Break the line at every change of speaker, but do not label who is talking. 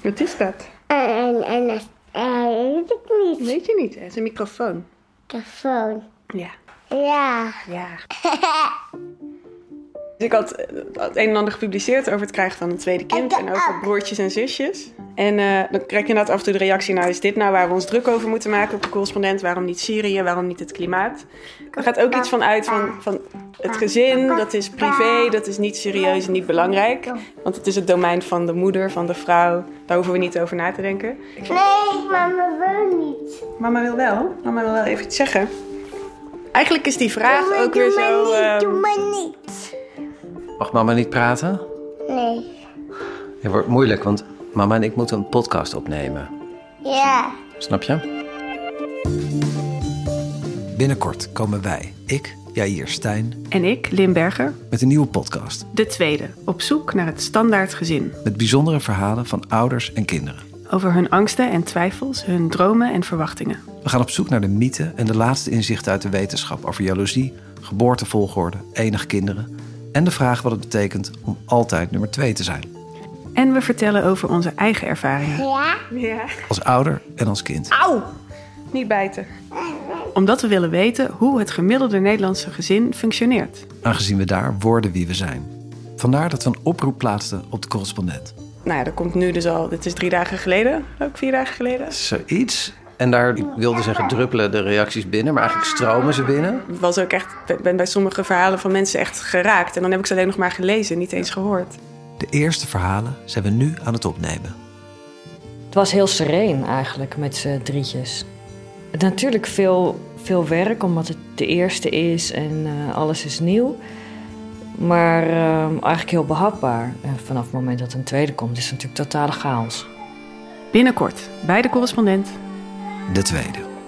Wat is dat?
Eh, En, en, dat eh, weet ik niet.
Weet je niet, hè? het is een microfoon.
Telefoon.
Ja.
Ja.
Ja. ik had eh, het een en ander gepubliceerd over het krijgen van een tweede kind en over broertjes en zusjes. En eh, dan krijg je inderdaad af en toe de reactie, nou is dit nou waar we ons druk over moeten maken op de correspondent? Waarom niet Syrië? Waarom niet het klimaat? Er gaat ook iets van uit van, van het gezin, dat is privé, dat is niet serieus en niet belangrijk. Want het is het domein van de moeder, van de vrouw. Daar hoeven we niet over na te denken.
Nee, mama wil niet.
Mama wil wel. Mama wil wel even iets zeggen. Eigenlijk is die vraag
Doe
ook weer
maar
zo.
niet,
ehm,
doe maar niet.
Mag mama niet praten?
Nee.
Het wordt moeilijk, want mama en ik moeten een podcast opnemen.
Ja.
Snap je?
Binnenkort komen wij, ik, Jair Stijn,
En ik, Limberger,
met een nieuwe podcast.
de tweede, op zoek naar het standaard gezin.
Met bijzondere verhalen van ouders en kinderen.
Over hun angsten en twijfels, hun dromen en verwachtingen.
We gaan op zoek naar de mythen en de laatste inzichten uit de wetenschap over jaloezie, geboortevolgorde, enig kinderen en de vraag wat het betekent om altijd nummer twee te zijn.
En we vertellen over onze eigen ervaringen.
Ja?
Ja.
Als ouder en als kind.
Auw! Niet bijten. Omdat we willen weten hoe het gemiddelde Nederlandse gezin functioneert.
Aangezien we daar worden wie we zijn. Vandaar dat we een oproep plaatsten op de correspondent.
Nou ja, dat komt nu dus al. Dit is drie dagen geleden. Ook vier dagen geleden.
Zoiets. En daar ik wilde zeggen druppelen de reacties binnen, maar eigenlijk stromen ze binnen.
was ook echt, ik ben bij sommige verhalen van mensen echt geraakt. En dan heb ik ze alleen nog maar gelezen, niet eens gehoord.
De eerste verhalen zijn we nu aan het opnemen.
Het was heel sereen eigenlijk met z'n drietjes. Natuurlijk veel, veel werk, omdat het de eerste is en eh, alles is nieuw. Maar eh, eigenlijk heel behapbaar. En vanaf het moment dat een tweede komt, is het natuurlijk totale chaos.
Binnenkort bij de correspondent.
De tweede.